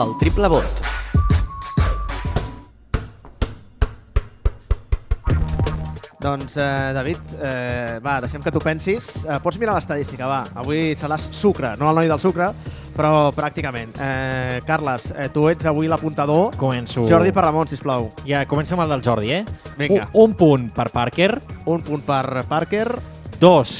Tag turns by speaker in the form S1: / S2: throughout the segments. S1: El triple vot.
S2: Doncs, eh, David, eh, va, deixem que tu pensis. Eh, pots mirar l'estadística, va. Avui seràs sucre, no el noi del sucre, però pràcticament. Eh, Carles, eh, tu ets avui l'apuntador.
S3: Començo.
S2: Jordi per Ramon, sisplau.
S3: Ja, comença amb el del Jordi, eh?
S2: Vinga.
S3: Un, un punt per Parker,
S2: Un punt per Parker,
S3: dos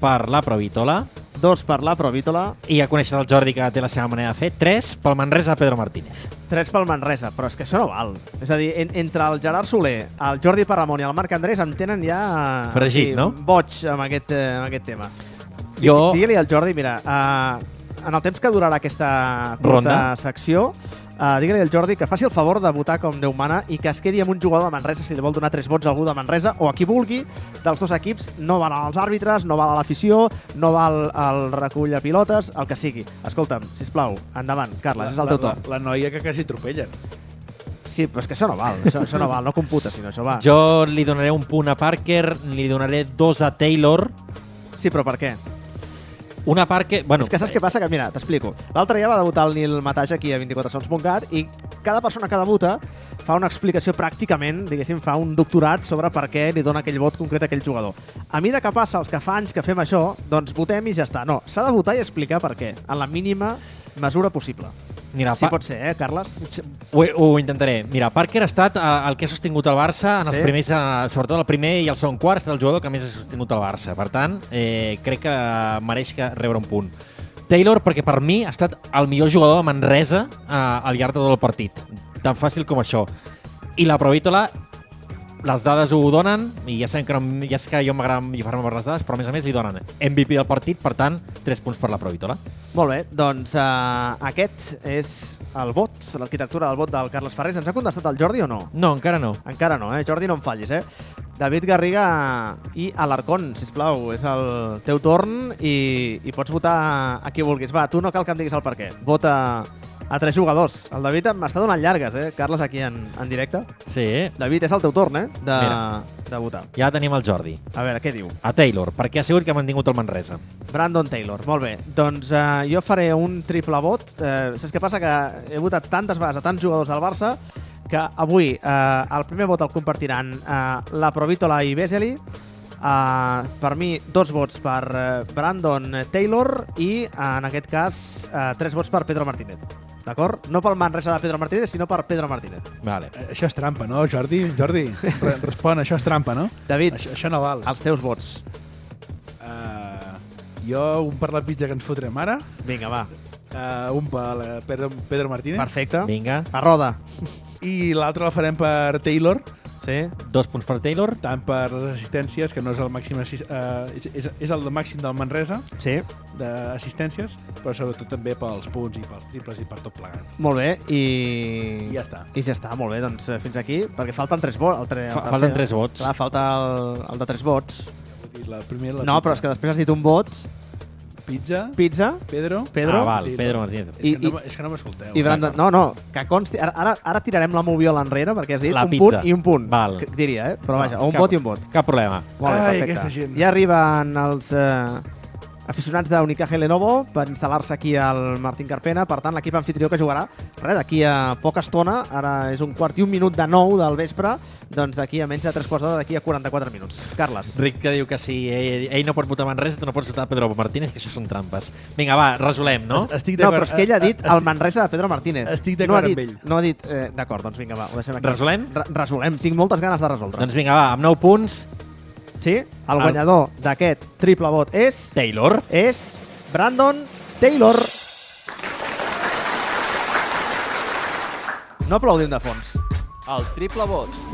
S3: per la Provitola,
S2: dos per la Provítola,
S3: i ja coneixes el Jordi que té la seva manera de fer, tres pel Manresa de Pedro Martínez.
S2: tres pel Manresa, però és que això no val. És a dir, en, entre el Gerard Soler, el Jordi Parramon i el Marc Andrés em tenen ja... eh,
S3: Fregit,
S2: aquí,
S3: no?
S2: Boig amb aquest, eh, amb aquest tema.
S3: Jo,
S2: Digue-li al Jordi, mira, uh, en el temps que durarà aquesta curta
S3: Ronda.
S2: secció, uh, digue-li al Jordi que faci el favor de votar com Déu mana i que es quedi amb un jugador de Manresa si li vol donar tres vots a algú de Manresa o a qui vulgui dels dos equips. No val als àrbitres, no val a l'afició, no val al recull de pilotes, el que sigui. Escolta'm, sisplau, endavant, Carles, és el teu
S4: la,
S2: torn.
S4: la, la noia que quasi atropellen.
S2: Sí, però és que això no val, això, això no val, no computa, sinó això va.
S3: jo li donaré un punt a Parker, li donaré dos a Taylor,
S2: Sí, però per què?
S3: una Parker... Bueno, eh,
S2: és que saps què passa? Que, mira, t'explico. L'altre dia va debutar el Nil Mataix aquí a 24sons.cat i cada persona que debuta fa una explicació pràcticament, diguéssim, fa un doctorat sobre per què li dona aquell vot concret a aquell jugador. A mida que passa, els que fa anys que fem això, doncs votem i ja està. No, s'ha de votar i explicar per què, en la mínima mesura possible.
S3: Mira,
S2: Si
S3: Pa-
S2: pot ser, eh, Carles?
S3: Ho, ho intentaré. Mira, Parker ha estat eh, el que ha sostingut el Barça, en els
S2: Sí.
S3: sí. primers, eh, sobretot el primer i el segon quart, ha estat el jugador que més ha sostingut el Barça. Per tant, eh, crec que mereix que rebre un punt. Taylor, perquè per mi ha estat el millor jugador de Manresa eh, al llarg de tot el partit. Tan fàcil com això. I la Provítola, les dades ho donen, i ja sabem que, no, ja sé que jo m'agrada llifar-me per les dades, però a més a més li donen MVP del partit, per tant, 3 punts per la Provítola.
S2: Molt bé, doncs uh, aquest és el vot, l'arquitectura del vot del Carles Ferrés. Ens ha contestat el Jordi o no?
S3: No, encara no.
S2: Encara no, eh? Jordi, no em fallis, eh? David Garriga i Alarcón, sisplau, és el teu torn i, i pots votar a qui vulguis. Va, tu no cal que em diguis el per què. Vota a tres jugadors. El David m'està donant llargues, eh? Carles, aquí en, en directe.
S3: Sí, eh?
S2: David, és el teu torn, eh? De,
S3: Mira.
S2: de votar.
S3: ja tenim el Jordi.
S2: A veure, què diu?
S3: a Taylor, perquè ha sigut que ha mantingut el Manresa.
S2: Brandon Taylor, molt bé. Doncs eh, jo faré un triple vot. Eh, saps què passa? Que he votat tantes vegades a tants jugadors del Barça que avui eh, el primer vot el compartiran eh, la Provítola i Vesely, Uh, per mi, dos vots per eh, Brandon Taylor i, eh, en aquest cas, eh, tres vots per Pedro Martínez. D'acord? No pel Manresa de Pedro Martínez, sinó per Pedro Martínez.
S3: Vale.
S4: Eh, Això és trampa, no, Jordi? Jordi, re- respon, això és trampa, no?
S2: David,
S4: Això, això no val.
S2: els teus vots.
S4: Uh, jo, un per la pitja que ens fotrem ara,
S2: Vinga, va.
S4: uh, un per la Pedro, Pedro Martínez,
S2: Perfecte.
S3: Vinga,
S2: A roda.
S4: i l'altre el farem per Taylor,
S2: Sí?
S3: dos punts per Taylor.
S4: tant per les assistències, que no és el màxim, assis- eh, és, és, és el màxim del Manresa,
S2: Sí.
S4: d'assistències, però sobretot també pels punts i pels triples i per tot plegat.
S2: Molt bé, i...
S4: I ja està.
S2: I ja està, molt bé, doncs eh, fins aquí, perquè falten tres vots. El tre... el
S3: Fa-
S2: tercer.
S3: falten tres vots.
S2: Clar, falta el, el de tres vots.
S4: Vull dir, La primera, la
S2: No,
S4: pizza.
S2: però és que després has dit un vot,
S4: Pizza,
S2: pizza,
S4: Pedro...
S2: Pedro
S3: ah, val,
S4: Taylor.
S3: Pedro Martínez.
S4: És, I,
S2: i-
S4: que no,
S2: i-
S4: me- és que no m'escolteu.
S2: i Brandon... No, no, que consti... Ara, ara, ara tirarem la moviola enrere, perquè has dit
S3: La
S2: un
S3: pizza.
S2: punt i un punt.
S3: Val.
S2: Que, diria, eh? Però
S3: Val,
S2: vaja, un
S3: cap-
S2: vot i un vot.
S3: Cap problema.
S2: Molt bé,
S4: Ai,
S2: perfecte.
S4: aquesta gent.
S2: Ja arriben els eh, aficionats d'Unicaja Lenovo per instal·lar-se aquí al Martín Carpena. Per tant, l'equip anfitrió que jugarà res, d'aquí a poca estona, ara és un quart i un minut de nou del vespre, doncs d'aquí a menys de tres quarts d'hora, d'aquí a 44 minuts. Carles.
S3: Rick que diu que si ell, ell no pot votar Manresa, tu no pots votar Pedro Martínez, que això són trampes. Vinga, va, resolem, no?
S4: Estic
S2: No,
S4: d'acord. eh,
S2: però és que ell ha dit
S4: Estic-
S2: el Manresa de Pedro Martínez.
S4: Estic
S2: no ha
S4: d'acord
S2: dit,
S4: amb ell.
S2: No ha dit... Eh, d'acord, doncs vinga, va, ho deixem aquí.
S3: Resolem?
S2: Re resolem. Tinc moltes ganes de resoldre.
S3: Doncs vinga, va, amb 9 punts,
S2: Sí? El guanyador d'aquest triple vot és...
S3: Taylor.
S2: És Brandon Taylor. No aplaudim de fons.
S1: El triple vot.